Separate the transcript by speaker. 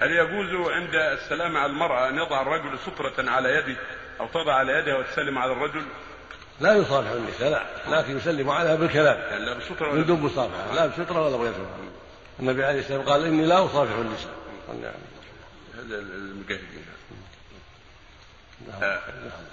Speaker 1: هل يجوز عند السلام على المرأة أن يضع الرجل سترة على يده أو تضع على يدها وتسلم على الرجل؟
Speaker 2: لا يصافح النساء لا لكن يسلم عليها بالكلام
Speaker 1: يعني لا بسترة
Speaker 2: من
Speaker 1: ولا
Speaker 2: دون مصافحه لا بستره ولا بغيرها النبي عليه الصلاه والسلام قال اني لا اصافح النساء يعني
Speaker 1: هذا المجاهدين
Speaker 2: نعم. نعم.